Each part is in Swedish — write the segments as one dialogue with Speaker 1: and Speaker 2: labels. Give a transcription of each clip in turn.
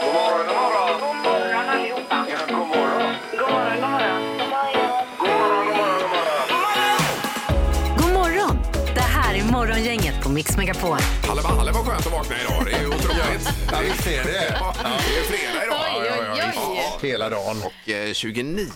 Speaker 1: God morgon, god morgon.
Speaker 2: God morgon allihopa.
Speaker 1: Ja, god morgon.
Speaker 2: God morgon, god morgon.
Speaker 1: God morgon, god morgon, god morgon.
Speaker 3: God morgon! Det här är Morgongänget på Mix Megapol.
Speaker 4: Halva, halva var skönt att vakna idag. Det är ju otroligt.
Speaker 5: Ja, visst är det.
Speaker 4: Ja, det är ju fredag idag.
Speaker 6: Oj, oj, oj.
Speaker 4: Ja,
Speaker 5: Hela dagen.
Speaker 4: Och eh, 29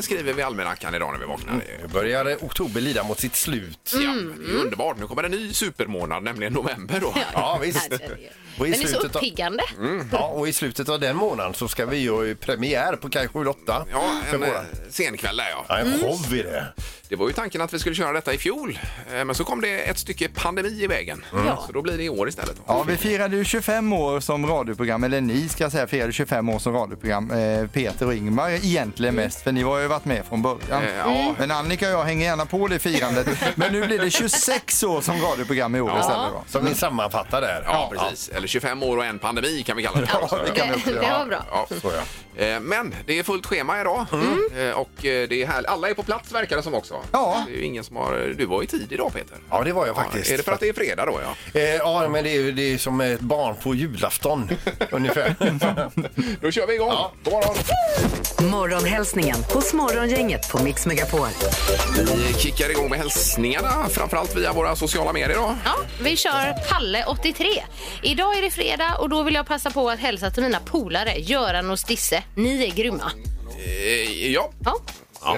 Speaker 4: skriver vi i almanackan idag när vi vaknar. Det är ju-
Speaker 5: Nu börjar oktober lida mot sitt slut.
Speaker 6: Mm.
Speaker 4: Ja, det är ju underbart. Nu kommer en ny supermånad, nämligen november då.
Speaker 5: Ja, visst.
Speaker 6: Herregud.
Speaker 5: Och i
Speaker 6: Den är så
Speaker 5: slutet av- Mm,
Speaker 6: uppiggande.
Speaker 5: Ja, och i slutet av den månaden så ska vi göra premiär på kanske 8
Speaker 4: Ja,
Speaker 5: för
Speaker 4: en eh,
Speaker 5: våran.
Speaker 4: senkväll där ja.
Speaker 5: Ja,
Speaker 6: Mm.
Speaker 5: en show i det.
Speaker 4: Det var ju tanken att vi skulle köra detta i fjol. eh, Men så kom det ett stycke pandemi i vägen. Så då blir det i år istället.
Speaker 7: Ja, vi firade ju 25 år som radioprogram, eller ni ska jag säga firade 25 år som radioprogram, eh, Peter och Ingmar egentligen mest, för ni har ju varit med från början.
Speaker 4: Eh, ja.
Speaker 7: Men Annika och jag hänger gärna på det firandet. Men nu blir det 26 år som radioprogram i år istället då.
Speaker 5: Som vi sammanfattar där.
Speaker 4: Ja, precis. Eller 25 år och en pandemi kan vi kalla det.
Speaker 5: Ja, det kan vi också
Speaker 6: Det
Speaker 5: göra.
Speaker 6: var bra.
Speaker 4: Ja.
Speaker 5: Så ja.
Speaker 4: Eh, Men det är fullt schema idag
Speaker 5: Mm.
Speaker 4: Eh, och eh, det är här. alla är på plats verkar det som också.
Speaker 7: Ja.
Speaker 4: Det är ju ingen som har... Du var i tid idag Peter.
Speaker 5: Ja, det var jag faktiskt.
Speaker 4: Är det för att det är fredag då ja?
Speaker 5: Eh, ja, men det är, ju- det är som ett barn på julafton ungefär.
Speaker 4: Då kör vi igång. God morgon.
Speaker 3: Morgonhälsningen hos Morgongänget på Mix Megapol.
Speaker 4: Vi kickar igång med hälsningarna framförallt via våra sociala medier då.
Speaker 6: Ja, vi kör Palle 83. Idag är det fredag och då vill jag passa på att hälsa till mina polare Göran och Stisse. Ni är grymma.
Speaker 4: Eh, Ja,
Speaker 6: Ja.
Speaker 4: ja.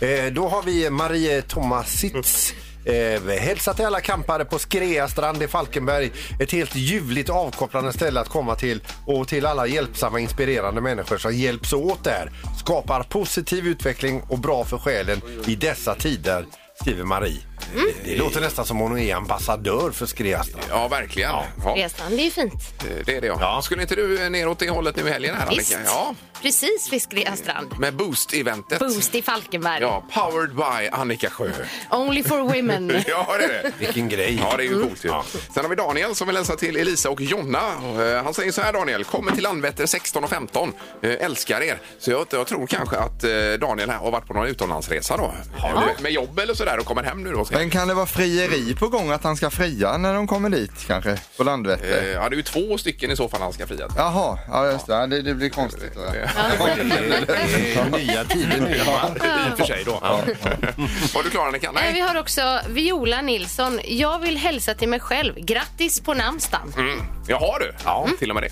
Speaker 4: där.
Speaker 5: Eh, då har vi Marie Tomasits. Eh, hälsa till alla kampare på Skreastrand i Falkenberg. Ett helt ljuvligt avkopplande ställe att komma till och till alla hjälpsamma, inspirerande människor som hjälps åt där. Skapar positiv utveckling och bra för själen i dessa tider, skriver Marie.
Speaker 4: Mm.
Speaker 5: Det, det låter nästan som hon är ambassadör för Skreastrand.
Speaker 4: Ja, verkligen. Ja.
Speaker 6: Resan, det är ju fint.
Speaker 4: eh, Det är det ja. Skulle inte du eh, neråt det hållet nu i helgen här
Speaker 6: Visst.
Speaker 4: Annika? Ja,
Speaker 6: Precis vid Skreastrand.
Speaker 4: med Boost-eventet.
Speaker 6: Boost i Falkenberg.
Speaker 4: Ja, powered by Annika Sjö.
Speaker 6: Only for women.
Speaker 4: Ja, det är det.
Speaker 5: Vilken grej!
Speaker 4: Ja, det är ju coolt ju. Sen har vi Daniel som vill hälsa till Elisa och Jonna. Och, eh, Han säger så här Daniel, kommer till Landvetter 16 och 15. Eh, Älskar er. Så jag, jag tror kanske att eh, Daniel här har varit på någon utomlandsresa då. Eh, Med, med jobb eller sådär och kommer hem nu då. Ska.
Speaker 7: Men kan det vara frieri på gång att han ska fria när de kommer dit kanske? På
Speaker 4: Eh,
Speaker 7: Landvetter?
Speaker 4: Ja, det är ju två stycken i så fall han ska fria. till.
Speaker 7: Jaha, ja, just det. Ja, det, det blir konstigt. Då.
Speaker 5: Det är nya tider nu.
Speaker 4: I och för sig då. Var du klar Annika?
Speaker 6: Eh, Vi
Speaker 4: Nej.
Speaker 6: har också Viola Nilsson. Jag vill hälsa till mig själv. Grattis på namnsdagen.
Speaker 4: Mm. Jaha du, ja, till och med det.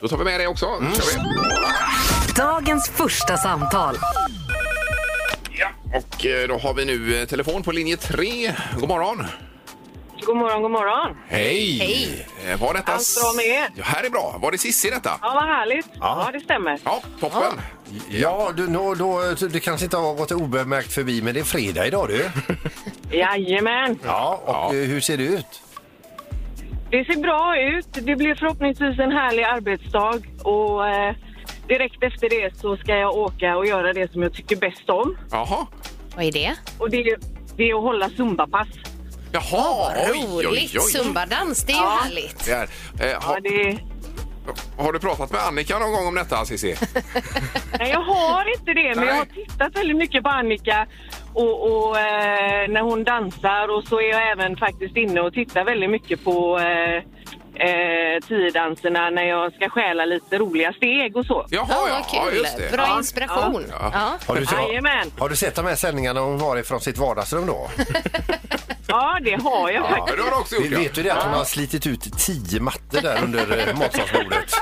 Speaker 4: Då tar vi med det också. Kör vi.
Speaker 3: Dagens första samtal.
Speaker 4: Ja. Och eh, då har vi nu eh, telefon på linje 3. God morgon.
Speaker 2: God morgon, god morgon.
Speaker 4: Hej!
Speaker 6: Hej.
Speaker 4: Eh, Var detta...
Speaker 2: Allt bra med er?
Speaker 4: Ja, här är bra. Var det Cissi detta?
Speaker 2: Ja, vad härligt. Ja, det stämmer.
Speaker 4: Ja, toppen.
Speaker 5: Ja, du, då, då, du kanske inte har gått obemärkt förbi, men det är fredag idag du.
Speaker 2: Jajamän.
Speaker 5: Ja, och eh, hur ser det ut?
Speaker 2: Det ser bra ut. Det blir förhoppningsvis en härlig arbetsdag. Och eh, direkt efter det så ska jag åka och göra det som jag tycker bäst om.
Speaker 4: Jaha.
Speaker 6: Vad är det?
Speaker 2: Och det, det är att hålla zumbapass.
Speaker 4: Jaha, oj, oj, oj.
Speaker 6: Roligt. Zumbadans, det är ju
Speaker 2: Ja.
Speaker 6: härligt.
Speaker 4: Det här. Eh,
Speaker 2: Ja,
Speaker 4: har,
Speaker 2: det...
Speaker 4: har du pratat med Annika någon gång om detta, Cissi?
Speaker 2: Nej, jag har inte det, men jag har
Speaker 4: Nej.
Speaker 2: tittat väldigt mycket på Annika och, och eh, när hon dansar och så är jag även faktiskt inne och tittar väldigt mycket på eh, eh, tiodanserna när jag ska stjäla lite roliga steg och så.
Speaker 4: Jaha,
Speaker 6: Ja,
Speaker 4: ja,
Speaker 6: vad
Speaker 4: ja,
Speaker 6: kul.
Speaker 4: just det.
Speaker 6: Bra
Speaker 2: Ja.
Speaker 6: inspiration.
Speaker 4: Ja.
Speaker 6: Ja.
Speaker 5: Har du, sett,
Speaker 2: Jajamän.
Speaker 5: har du sett de här sändningarna hon var ifrån sitt vardagsrum då?
Speaker 2: Ja, det har jag
Speaker 4: Ja,
Speaker 2: faktiskt.
Speaker 4: det har du också
Speaker 5: Vi
Speaker 4: gjort, ja.
Speaker 5: vet ju det att hon har slitit ut tio mattor där under eh, matsalsbordet.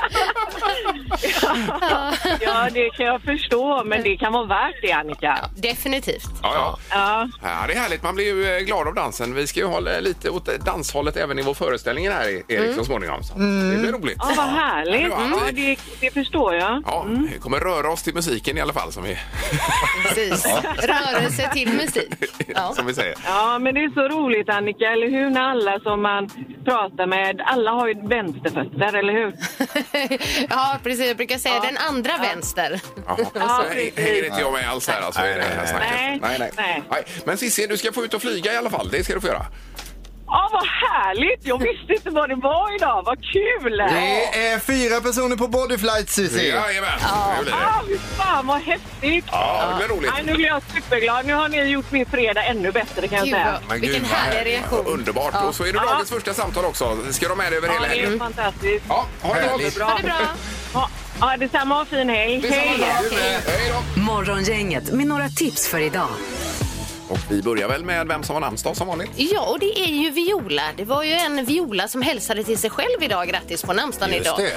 Speaker 2: Ja, det kan jag förstå, men det kan vara värt det, Annika.
Speaker 6: Definitivt.
Speaker 4: Ja, ja.
Speaker 2: Ja,
Speaker 4: ja. Det är härligt. Man blir ju eh, glad av dansen. Vi ska ju hålla lite åt danshållet även i vår föreställning här, E- Erik, så småningom. Så. Det blir roligt.
Speaker 2: ja vad härligt.
Speaker 4: Ja, det var
Speaker 2: Ja,
Speaker 4: alltid-
Speaker 2: det, det förstår jag.
Speaker 4: Ja, vi kommer röra oss till musiken i alla fall, som vi,
Speaker 6: Precis. Rörelse till musik. Ja.
Speaker 4: som vi säger.
Speaker 2: Ja, men det är så roligt, Annika, eller hur? När alla som man pratar med, alla har ju vänsterfötter, eller hur?
Speaker 6: ja, precis. Jag brukar säga den andra vänster.
Speaker 4: Jaha.
Speaker 2: Ja,
Speaker 4: Så hä-
Speaker 2: precis.
Speaker 4: hänger inte jag med alls här, alltså, i det här snacket.
Speaker 2: Nej,
Speaker 4: Nej, nej.
Speaker 2: nej.
Speaker 4: Nej, Men Cissi, du ska få ut och flyga i alla fall. Det ska du få göra.
Speaker 2: Ja, vad härligt! Jag visste inte vad det var idag. Vad kul!
Speaker 7: Det är Eh, fyra personer på Bodyflight, Susie.
Speaker 4: Jajamän, det blir det.
Speaker 2: Ja, fy fan vad häftigt!
Speaker 4: Ja, det blir roligt.
Speaker 2: Nej, nu blir jag superglad. Nu har ni gjort min fredag ännu bättre kan jag
Speaker 6: Gud,
Speaker 2: säga.
Speaker 6: vad, vilken
Speaker 4: vad
Speaker 6: härlig reaktion.
Speaker 4: Underbart. Och så är det dagens första samtal också. Ska de med dig över
Speaker 2: Ja,
Speaker 4: hela
Speaker 2: det är
Speaker 4: helgen?
Speaker 2: fantastiskt.
Speaker 4: Mm. Ja, ha det
Speaker 7: Härligt.
Speaker 4: gott.
Speaker 6: Ha det bra.
Speaker 2: Ja, ja, detsamma. Ha en fin helg.
Speaker 4: Detsamma.
Speaker 6: Hej.
Speaker 4: Hej då.
Speaker 3: Morgongänget med några tips för idag.
Speaker 4: Och vi börjar väl med vem som har namnsdag som vanligt.
Speaker 6: Ja, och det är ju Viola. Det var ju en Viola som hälsade till sig själv idag. Grattis på namnsdagen
Speaker 5: Just
Speaker 6: idag.
Speaker 5: det.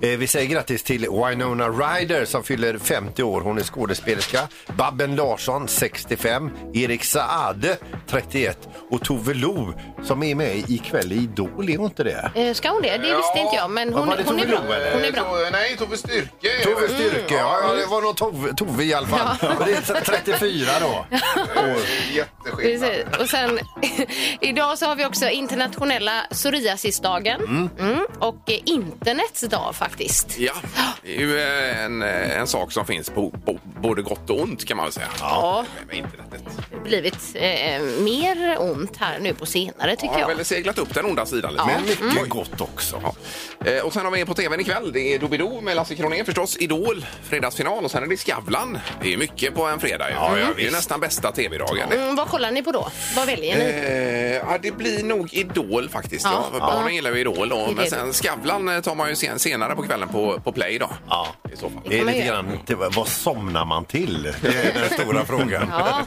Speaker 5: Ja. Eh, Vi säger grattis till Winona Ryder som fyller 50 år. Hon är skådespelerska. Babben Larsson, 65. Erik Saade, 31. Och Tove Lo som är med ikväll i Idol, är hon inte det?
Speaker 6: Eh, Ska hon det? Det
Speaker 8: Ja.
Speaker 6: visste inte jag, men hon,
Speaker 5: var det
Speaker 6: hon är
Speaker 5: Tove
Speaker 6: bra.
Speaker 5: Lo, eller?
Speaker 6: Hon är bra.
Speaker 8: Tove- Nej, Tove Styrke.
Speaker 5: Tove Styrke, ja, ja det var nog Tove, Tove i alla fall. Och det är 34 då.
Speaker 8: År. Jätteskillnad.
Speaker 6: Precis. Och sen, idag så har vi också internationella psoriasisdagen Mm. och eh, internets dag faktiskt.
Speaker 4: Ja, det är ju eh, en, eh, en sak som finns på på både gott och ont kan man väl säga.
Speaker 6: Ja.
Speaker 4: Med internetet.
Speaker 6: Det har blivit eh, mer ont här nu på senare tycker
Speaker 4: Har
Speaker 6: jag.
Speaker 4: väl seglat upp den onda sidan lite.
Speaker 5: Men mycket
Speaker 6: Mm.
Speaker 5: gott också.
Speaker 4: Ja. Eh, Och sen har vi på tvn ikväll. Det är Doobidoo med Lasse Kronér förstås. Idol, fredagsfinal och sen är det Skavlan. Det är mycket på en fredag. ju. Mm.
Speaker 5: Ja,
Speaker 4: det
Speaker 5: ja,
Speaker 4: är ju
Speaker 5: visst.
Speaker 4: nästan bästa tv-dagen.
Speaker 6: Mm, vad kollar ni på då? Vad väljer ni?
Speaker 4: Eh, ja, det blir nog Idol faktiskt.
Speaker 6: Ja.
Speaker 4: Ja. Barnen
Speaker 6: Ja.
Speaker 4: gillar ju Idol då,
Speaker 6: är
Speaker 4: men
Speaker 6: det.
Speaker 4: sen Skavlan eh, tar man ju sen, senare på kvällen på, på Play då.
Speaker 5: Ja.
Speaker 4: I så fall.
Speaker 5: Det är
Speaker 6: man
Speaker 5: lite
Speaker 6: göra.
Speaker 5: grann, det var- vad somnar man till? Det är den stora frågan.
Speaker 6: Ja.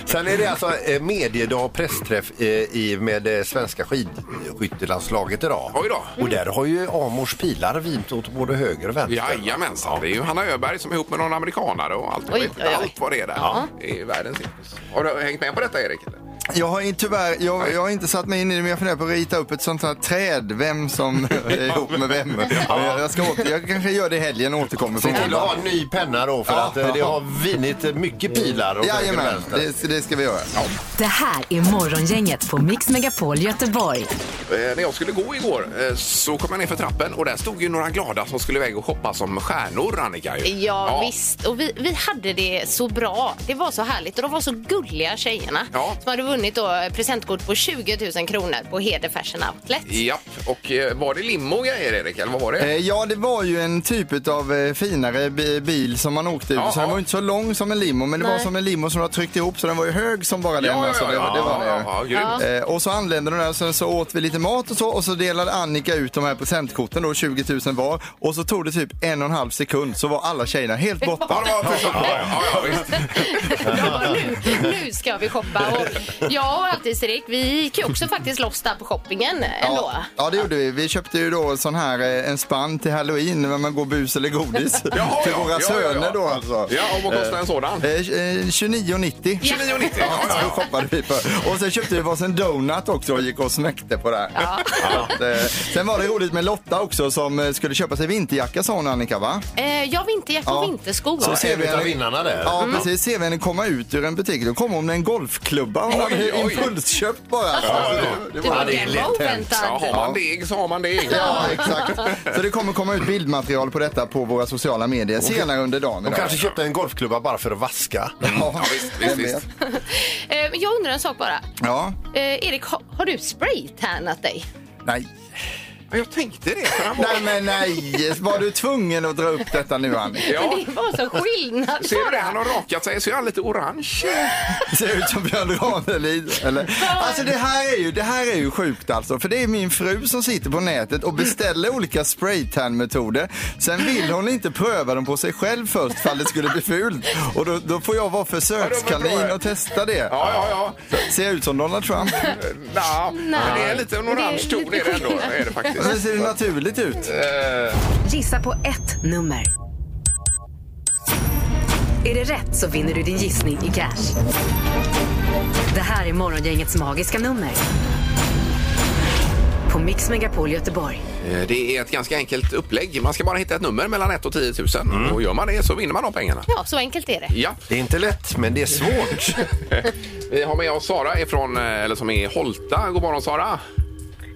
Speaker 5: Sen är det alltså eh, mediedag och pressträff eh, i med eh, svenska skidskyttelandslaget idag.
Speaker 4: Oj då.
Speaker 5: Och där har ju Amors pilar vint åt både höger och vänster.
Speaker 4: Jajamensan, det är ju Hanna Öberg som är ihop med någon amerikanare och allt,
Speaker 6: Oj, oj, oj.
Speaker 4: allt vad det är där. Det är världens cirkus. Har du hängt med på detta Erik? eller?
Speaker 7: Jag har inte, tyvärr, jag, jag har inte satt mig in i det, men jag funderar på att rita upp ett sånt här träd. Vem som är ihop med vem. Jag, jag, ska åter, jag kanske gör det i helgen och återkommer.
Speaker 5: Se
Speaker 7: från
Speaker 5: till att
Speaker 7: måndag.
Speaker 5: ha en ny penna då för
Speaker 7: Ja.
Speaker 5: att eh, det har vinit eh, mycket pilar åt höger och
Speaker 7: Jajamän,
Speaker 5: vänster.
Speaker 7: det, det ska vi göra.
Speaker 3: Det här är Morgongänget på Mix Megapol Göteborg.
Speaker 4: Eh, när jag skulle gå igår eh, så kom jag ner för trappen och där stod ju några glada som skulle iväg och shoppa som stjärnor Annika. Ju.
Speaker 6: Ja, visst. Och vi, vi hade det så bra. Det var så härligt. Och de var så gulliga tjejerna
Speaker 4: Ja.
Speaker 6: som hade vunnit då presentkort på 20 000 kronor på Hede Fashion Outlet.
Speaker 4: Japp, och eh, var det limo och grejer Erik eller vad var det?
Speaker 7: Eh, Ja, det var ju en typ av finare bi- bil som man åkte i.
Speaker 4: Ja,
Speaker 7: Så den
Speaker 4: ja.
Speaker 7: var ju inte så lång som en limo, men det var
Speaker 6: Nej.
Speaker 7: som en limo som de tryckte ihop så den var ju hög som bara den. alltså, det, det var det.
Speaker 4: ja, ja, grymt.
Speaker 7: Eh, och så anlände de där, sen så åt vi lite mat och så och så delade Annika ut de här presentkorten då, 20 000 var. Och så tog det typ en och en halv sekund så var alla tjejerna helt borta.
Speaker 4: Ja, det var första- ja, ja, ja, visst.
Speaker 6: Ja, nu, nu ska vi shoppa. Och jag och Halvtids-Erik, vi gick ju också faktiskt loss där på shoppingen ändå.
Speaker 7: Ja, ja, det gjorde vi. Vi köpte ju då sån här, eh, en spann till halloween när man går bus eller godis.
Speaker 4: Jaha,
Speaker 7: till
Speaker 4: ja,
Speaker 7: våra
Speaker 4: ja, ja,
Speaker 7: söner
Speaker 4: ja.
Speaker 7: då alltså.
Speaker 4: Ja, och vad kostar en sådan?
Speaker 7: Eh, eh, 29,90.
Speaker 4: 29,90.
Speaker 7: Ja, så shoppade vi för. Och sen köpte vi varsin donut också och gick och snäckte på det här. Så att, eh, sen var det roligt med Lotta också som eh, skulle köpa sig vinterjacka sa hon Annika va?
Speaker 6: Eh, jag vinterjacka och
Speaker 7: Ja.
Speaker 6: vinterskor.
Speaker 7: Så ser
Speaker 5: en
Speaker 7: vi
Speaker 5: utav
Speaker 7: henne,
Speaker 5: vinnarna där.
Speaker 7: Ja,
Speaker 4: Mm.
Speaker 7: precis. Ser vi henne komma ut ur en butik, då kommer hon med en golfklubba. Hon
Speaker 4: Oj,
Speaker 7: hade
Speaker 4: oj.
Speaker 7: impulsköpt bara.
Speaker 6: Du,
Speaker 7: var-
Speaker 5: det är
Speaker 6: den
Speaker 5: lätt
Speaker 6: var
Speaker 5: hänt.
Speaker 4: Ja,
Speaker 6: oväntad.
Speaker 4: har man deg så har man deg.
Speaker 7: Ja, exakt. Så det kommer komma ut bildmaterial på detta på våra sociala medier senare under dagen.
Speaker 5: Hon
Speaker 7: idag.
Speaker 5: kanske köpte en golfklubba bara för att vaska.
Speaker 7: Ja,
Speaker 4: visst, visst,
Speaker 7: vem vet.
Speaker 4: visst.
Speaker 6: Eh, men jag undrar en sak bara.
Speaker 7: Ja,
Speaker 6: Eh, Erik, har, har du spraytannat dig?
Speaker 7: nej.
Speaker 4: Ja, Jag tänkte det. För han var...
Speaker 7: Nej, men nej. Var du tvungen att dra upp detta nu, Annika?
Speaker 4: Ja.
Speaker 6: Det var så skillnad
Speaker 4: Ser du det?
Speaker 6: bara.
Speaker 4: Han har rakat sig så är han lite orange.
Speaker 7: Ser ut som Björn Ranelid. Eller? Alltså det här, är ju, det här är ju sjukt alltså. För det är min fru som sitter på nätet och beställer olika spraytan-metoder. Sen vill hon inte pröva dem på sig själv först fall det skulle bli fult. Och då, då får jag vara försökskanin och testa det.
Speaker 4: Ja, ja, ja.
Speaker 7: Ser jag ut som Donald Trump?
Speaker 4: Nå, men det är lite en
Speaker 6: Det är
Speaker 4: orange
Speaker 6: lite
Speaker 4: ton är det ändå. Är det faktiskt.
Speaker 7: Sen ser det naturligt ut.
Speaker 3: Gissa på ett nummer. Är det rätt så vinner du din gissning i cash. Det här är Morgongängets magiska nummer. På Mix Megapol Göteborg.
Speaker 4: Eh, Det är ett ganska enkelt upplägg. Man ska bara hitta ett nummer mellan 1 och 10 000. Och gör man det så vinner man de pengarna.
Speaker 6: Ja, så enkelt är det.
Speaker 4: Mm. Ja,
Speaker 5: Det är inte lätt, men det är svårt.
Speaker 4: vi har med oss Sara ifrån, eh, eller som är i Holta. God morgon Sara!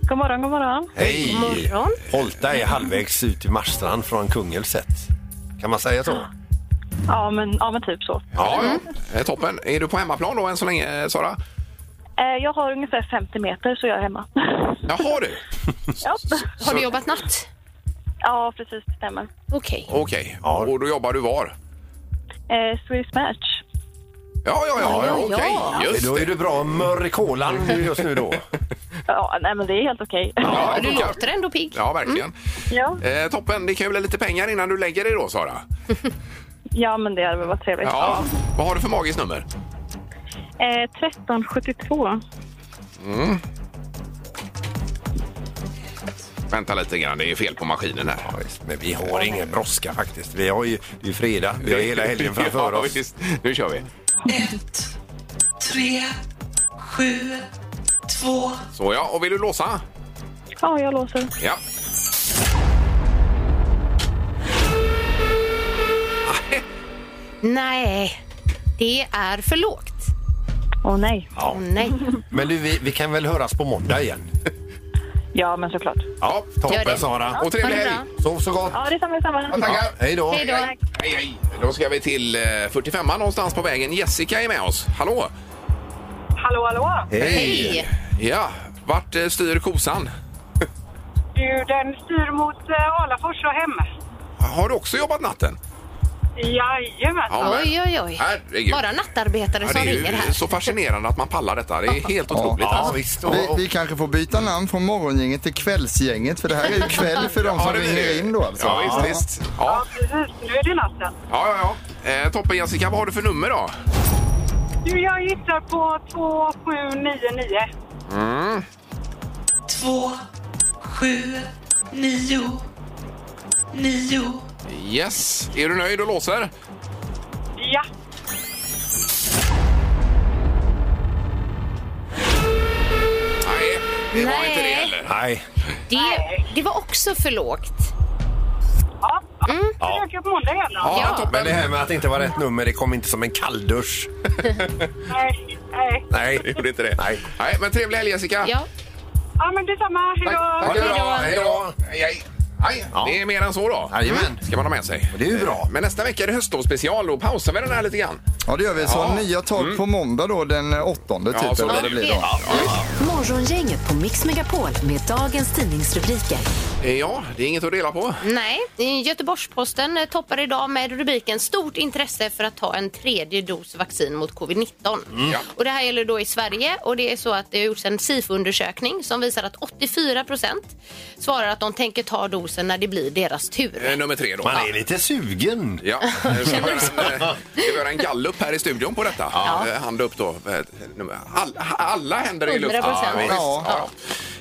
Speaker 2: God morgon, god morgon.
Speaker 5: Hej!
Speaker 6: morgon.
Speaker 5: Holta är halvvägs ut i Marstrand från Kungälvset. Kan man säga så?
Speaker 2: Ja men, ja, men typ så.
Speaker 4: Mm. Ja, ja. Eh, toppen. Är du på hemmaplan då än så länge eh, Sara?
Speaker 9: Eh, Jag har ungefär 50 meter så jag är hemma.
Speaker 4: Jaha du!
Speaker 9: ja.
Speaker 6: Har du jobbat natt?
Speaker 9: ja, precis. Det stämmer.
Speaker 6: Okej.
Speaker 4: Okej, och då jobbar du var?
Speaker 9: Eh, Swedish Match.
Speaker 4: Ja, ja, ja, ja
Speaker 6: Ja, ja,
Speaker 4: okej,
Speaker 6: ja.
Speaker 4: just
Speaker 5: Då är
Speaker 4: det.
Speaker 5: du bra mörr i kolan just nu då.
Speaker 9: Ja, nej men det är helt okej.
Speaker 4: Ja,
Speaker 6: Du
Speaker 4: det funkar.
Speaker 6: låter ändå pigg.
Speaker 4: Ja, verkligen.
Speaker 9: ja.
Speaker 4: Eh, toppen, det kan ju bli lite pengar innan du lägger dig då, Sara.
Speaker 9: ja, men det hade väl varit trevligt.
Speaker 4: Ja. Vad har du för magiskt nummer?
Speaker 9: Eh, 1372.
Speaker 4: Vänta lite grann, det är fel på maskinen här.
Speaker 5: Men vi har ingen brådska faktiskt. Vi har ju, det är ju fredag, vi har hela helgen framför
Speaker 4: ja,
Speaker 5: oss.
Speaker 4: Visst. Nu kör vi.
Speaker 10: ett, tre, sju, två.
Speaker 4: Så ja, och vill du låsa?
Speaker 9: Ja, jag låser.
Speaker 4: Ja.
Speaker 6: Nej, det är för lågt.
Speaker 9: Åh nej.
Speaker 6: Åh nej.
Speaker 5: Men du, vi, vi kan väl höras på måndag igen?
Speaker 9: Ja, men såklart.
Speaker 4: Ja,
Speaker 6: Gör det.
Speaker 5: Toppen Sara!
Speaker 4: Och trevlig
Speaker 6: Ha det
Speaker 4: helg!
Speaker 6: bra.
Speaker 5: Sov så gott!
Speaker 9: Ja, detsamma, detsamma.
Speaker 5: Ja, hej då!
Speaker 6: Hej då.
Speaker 4: Hej, hej. Då ska vi till eh, 45an någonstans på vägen. Jessica är med oss. Hallå!
Speaker 2: Hallå, hallå!
Speaker 6: Hej!
Speaker 4: Ja, vart eh, styr kosan?
Speaker 2: Du, den styr mot eh, Alafors och hem.
Speaker 4: Har du också jobbat natten?
Speaker 2: Jajamän!
Speaker 4: men-
Speaker 6: Oj, oj, oj.
Speaker 4: Herregud.
Speaker 6: Bara nattarbetare
Speaker 4: Ja,
Speaker 6: som
Speaker 4: det
Speaker 6: ringer
Speaker 4: är ju
Speaker 6: här.
Speaker 4: så fascinerande att man pallar detta. Det är helt otroligt.
Speaker 5: Ja,
Speaker 4: alltså.
Speaker 5: visst. Och,
Speaker 7: Vi,
Speaker 5: och,
Speaker 7: vi kanske får byta namn från morgongänget till kvällsgänget för det här är ju kväll för de som
Speaker 4: det blir det.
Speaker 7: ringer in då alltså.
Speaker 4: Ja, visst, visst. Ja,
Speaker 2: precis. Nu är det natten.
Speaker 4: ja, ja. ja. Eh, toppen Jessica, vad har du för nummer då?
Speaker 2: Du, jag gissar på 2799.
Speaker 10: Två, sju, nio, nio.
Speaker 4: Yes. Är du nöjd och låser?
Speaker 2: Ja.
Speaker 4: Nej, det var
Speaker 6: Nej.
Speaker 4: inte det heller.
Speaker 5: nej,
Speaker 6: Det, det var också för lågt.
Speaker 2: Ja, ja. försöker på måndag igen då.
Speaker 4: Ja,
Speaker 6: Ja.
Speaker 4: toppen.
Speaker 5: men det här med att det inte var rätt nummer, det kom inte som en kalldusch.
Speaker 2: Nej, nej.
Speaker 5: Nej,
Speaker 4: Det gjorde inte det.
Speaker 5: Nej.
Speaker 4: Nej, men trevlig helg Jessica.
Speaker 6: Ja,
Speaker 2: Ja, men detsamma. Hej då!
Speaker 4: Tack,
Speaker 5: Hej
Speaker 4: hej
Speaker 5: då,
Speaker 4: då.
Speaker 5: hej då.
Speaker 4: Hej, hej. Nej, det är mer än så då. Mm.
Speaker 5: Jajamän.
Speaker 4: Ska man ha med sig. Eh,
Speaker 5: Det är ju bra.
Speaker 4: Men nästa vecka är det höstlovsspecial och pausar vi den här lite grann.
Speaker 7: Ja det gör vi. Så
Speaker 4: Ja. Mm.
Speaker 7: nya tag på måndag då den eh, åttonde
Speaker 4: Ja,
Speaker 7: typ.
Speaker 4: så
Speaker 7: eller vad
Speaker 4: blir
Speaker 7: det
Speaker 4: det.
Speaker 7: blir då.
Speaker 3: Morgongänget på Mix Megapol med dagens tidningsrubriker.
Speaker 4: Eh, Ja, det är inget att dela på.
Speaker 6: nej. Göteborgs-Posten eh, toppar idag med rubriken Stort intresse för att ta en tredje dos vaccin mot covid-19.
Speaker 4: Mm. Ja.
Speaker 6: Och det här gäller då i Sverige och det är så att det har gjorts en SIFO-undersökning som visar att 84 procent svarar att de tänker ta dosen när det blir deras tur.
Speaker 4: Eh, Nummer tre då.
Speaker 5: Man är lite sugen.
Speaker 4: Ja, vi ska göra en, eh, vi ska göra en gallup här i studion på detta.
Speaker 6: Ja.
Speaker 4: Eh, Hand upp då. Eh, nummer- All, alla händer är i luften.
Speaker 6: 100%.
Speaker 4: visst.
Speaker 7: Ja.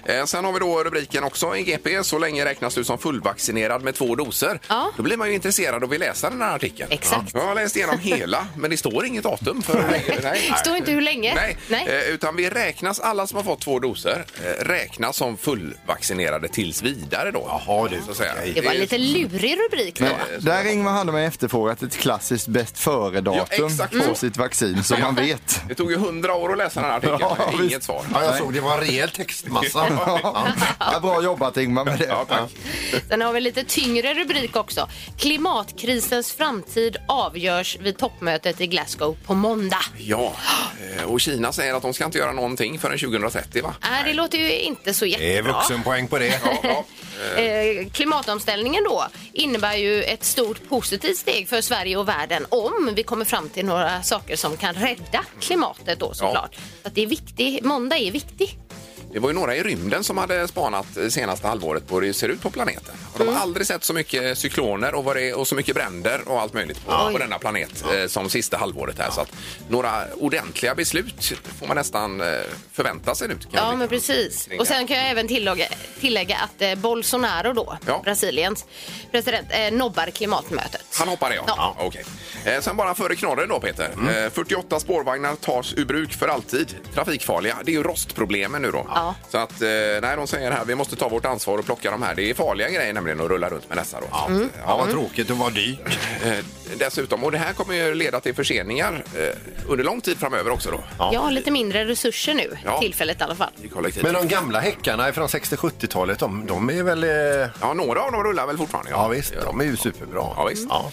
Speaker 4: Eh, Sen har vi då rubriken också i GP. Så länge räknas du som fullvaccinerad med två doser.
Speaker 6: Ja.
Speaker 4: Då blir man ju intresserad och vill läsa den här artikeln.
Speaker 6: Exakt.
Speaker 4: Ja. Jag har läst igenom hela, men det står inget datum. För, nej, nej.
Speaker 6: Står inte hur länge.
Speaker 4: Nej.
Speaker 6: Nej.
Speaker 4: Eh, Utan vi räknas, alla som har fått två doser, eh, räknas som fullvaccinerade tills vidare då. Jaha, du. Så att säga.
Speaker 6: Det var en lite lurig rubrik då.
Speaker 4: Nej.
Speaker 7: Där Ingvar Hallberg efterfrågat ett klassiskt bäst
Speaker 4: Ja,
Speaker 7: före-datum
Speaker 4: exakt Mm. så.
Speaker 7: på sitt vaccin så man vet.
Speaker 4: Det tog ju hundra år att läsa den här artikeln.
Speaker 7: Ja,
Speaker 4: Inget
Speaker 7: visst.
Speaker 4: svar.
Speaker 5: Ja, jag såg det var en rejäl textmassa.
Speaker 7: Ja. Ja, bra jobbat Ingmar med det.
Speaker 4: Ja, tack.
Speaker 6: Sen har vi lite tyngre rubrik också. Klimatkrisens framtid avgörs vid toppmötet i Glasgow på måndag. Äh,
Speaker 4: Ja, eh, och Kina säger att de ska inte göra någonting förrän 2030 va?
Speaker 6: Äh, det låter ju inte så
Speaker 5: Det är
Speaker 6: jättebra.
Speaker 5: vuxenpoäng på det.
Speaker 4: Ja, ja.
Speaker 6: Eh, klimatomställningen då innebär ju ett stort positivt steg för Sverige och världen om vi kommer fram till några saker som kan rädda klimatet då såklart. Så att det är viktigt. Måndag är viktig.
Speaker 4: Det var ju några i rymden som hade spanat eh, senaste halvåret på hur det ser ut på planeten. Och de har
Speaker 7: Mm.
Speaker 4: aldrig sett så mycket cykloner och, vad det är, och så mycket bränder och allt möjligt på, på denna planet eh, som sista halvåret här. Så att några ordentliga beslut får man nästan eh, förvänta sig nu. kan jag
Speaker 6: Ja,
Speaker 4: tycka.
Speaker 6: men precis.
Speaker 4: kring
Speaker 6: Och
Speaker 4: det.
Speaker 6: sen kan jag även tillägga, tillägga att eh, Bolsonaro då,
Speaker 4: Ja.
Speaker 6: Brasiliens president, eh, nobbar klimatmötet.
Speaker 4: Han hoppade ja. ja.
Speaker 6: Ja. Mm.
Speaker 4: okej. Eh, sen bara före knorren då Peter. Eh, 48 spårvagnar tas ur bruk för alltid. Trafikfarliga. Det är ju rostproblemen nu då.
Speaker 6: Ja.
Speaker 4: Så att, eh, nej de säger här, vi måste ta vårt ansvar
Speaker 6: Mm.
Speaker 4: och plocka de här. Det är farliga grejer nämligen att rulla runt med dessa då.
Speaker 5: Ja, vad tråkigt och vad dyrt.
Speaker 4: Eh, dessutom. Och det här kommer ju leda till förseningar eh, under lång tid framöver också då.
Speaker 6: Jag har lite mindre resurser nu,
Speaker 4: Ja.
Speaker 6: tillfället i alla fall.
Speaker 4: I kollektivet.
Speaker 5: Men de gamla häckarna från 60-70-talet, de, de är väl... Eh...
Speaker 4: Ja, några av dem rullar väl fortfarande?
Speaker 5: Ja visst, de är ju superbra.
Speaker 4: Ja, visst.
Speaker 5: Ja.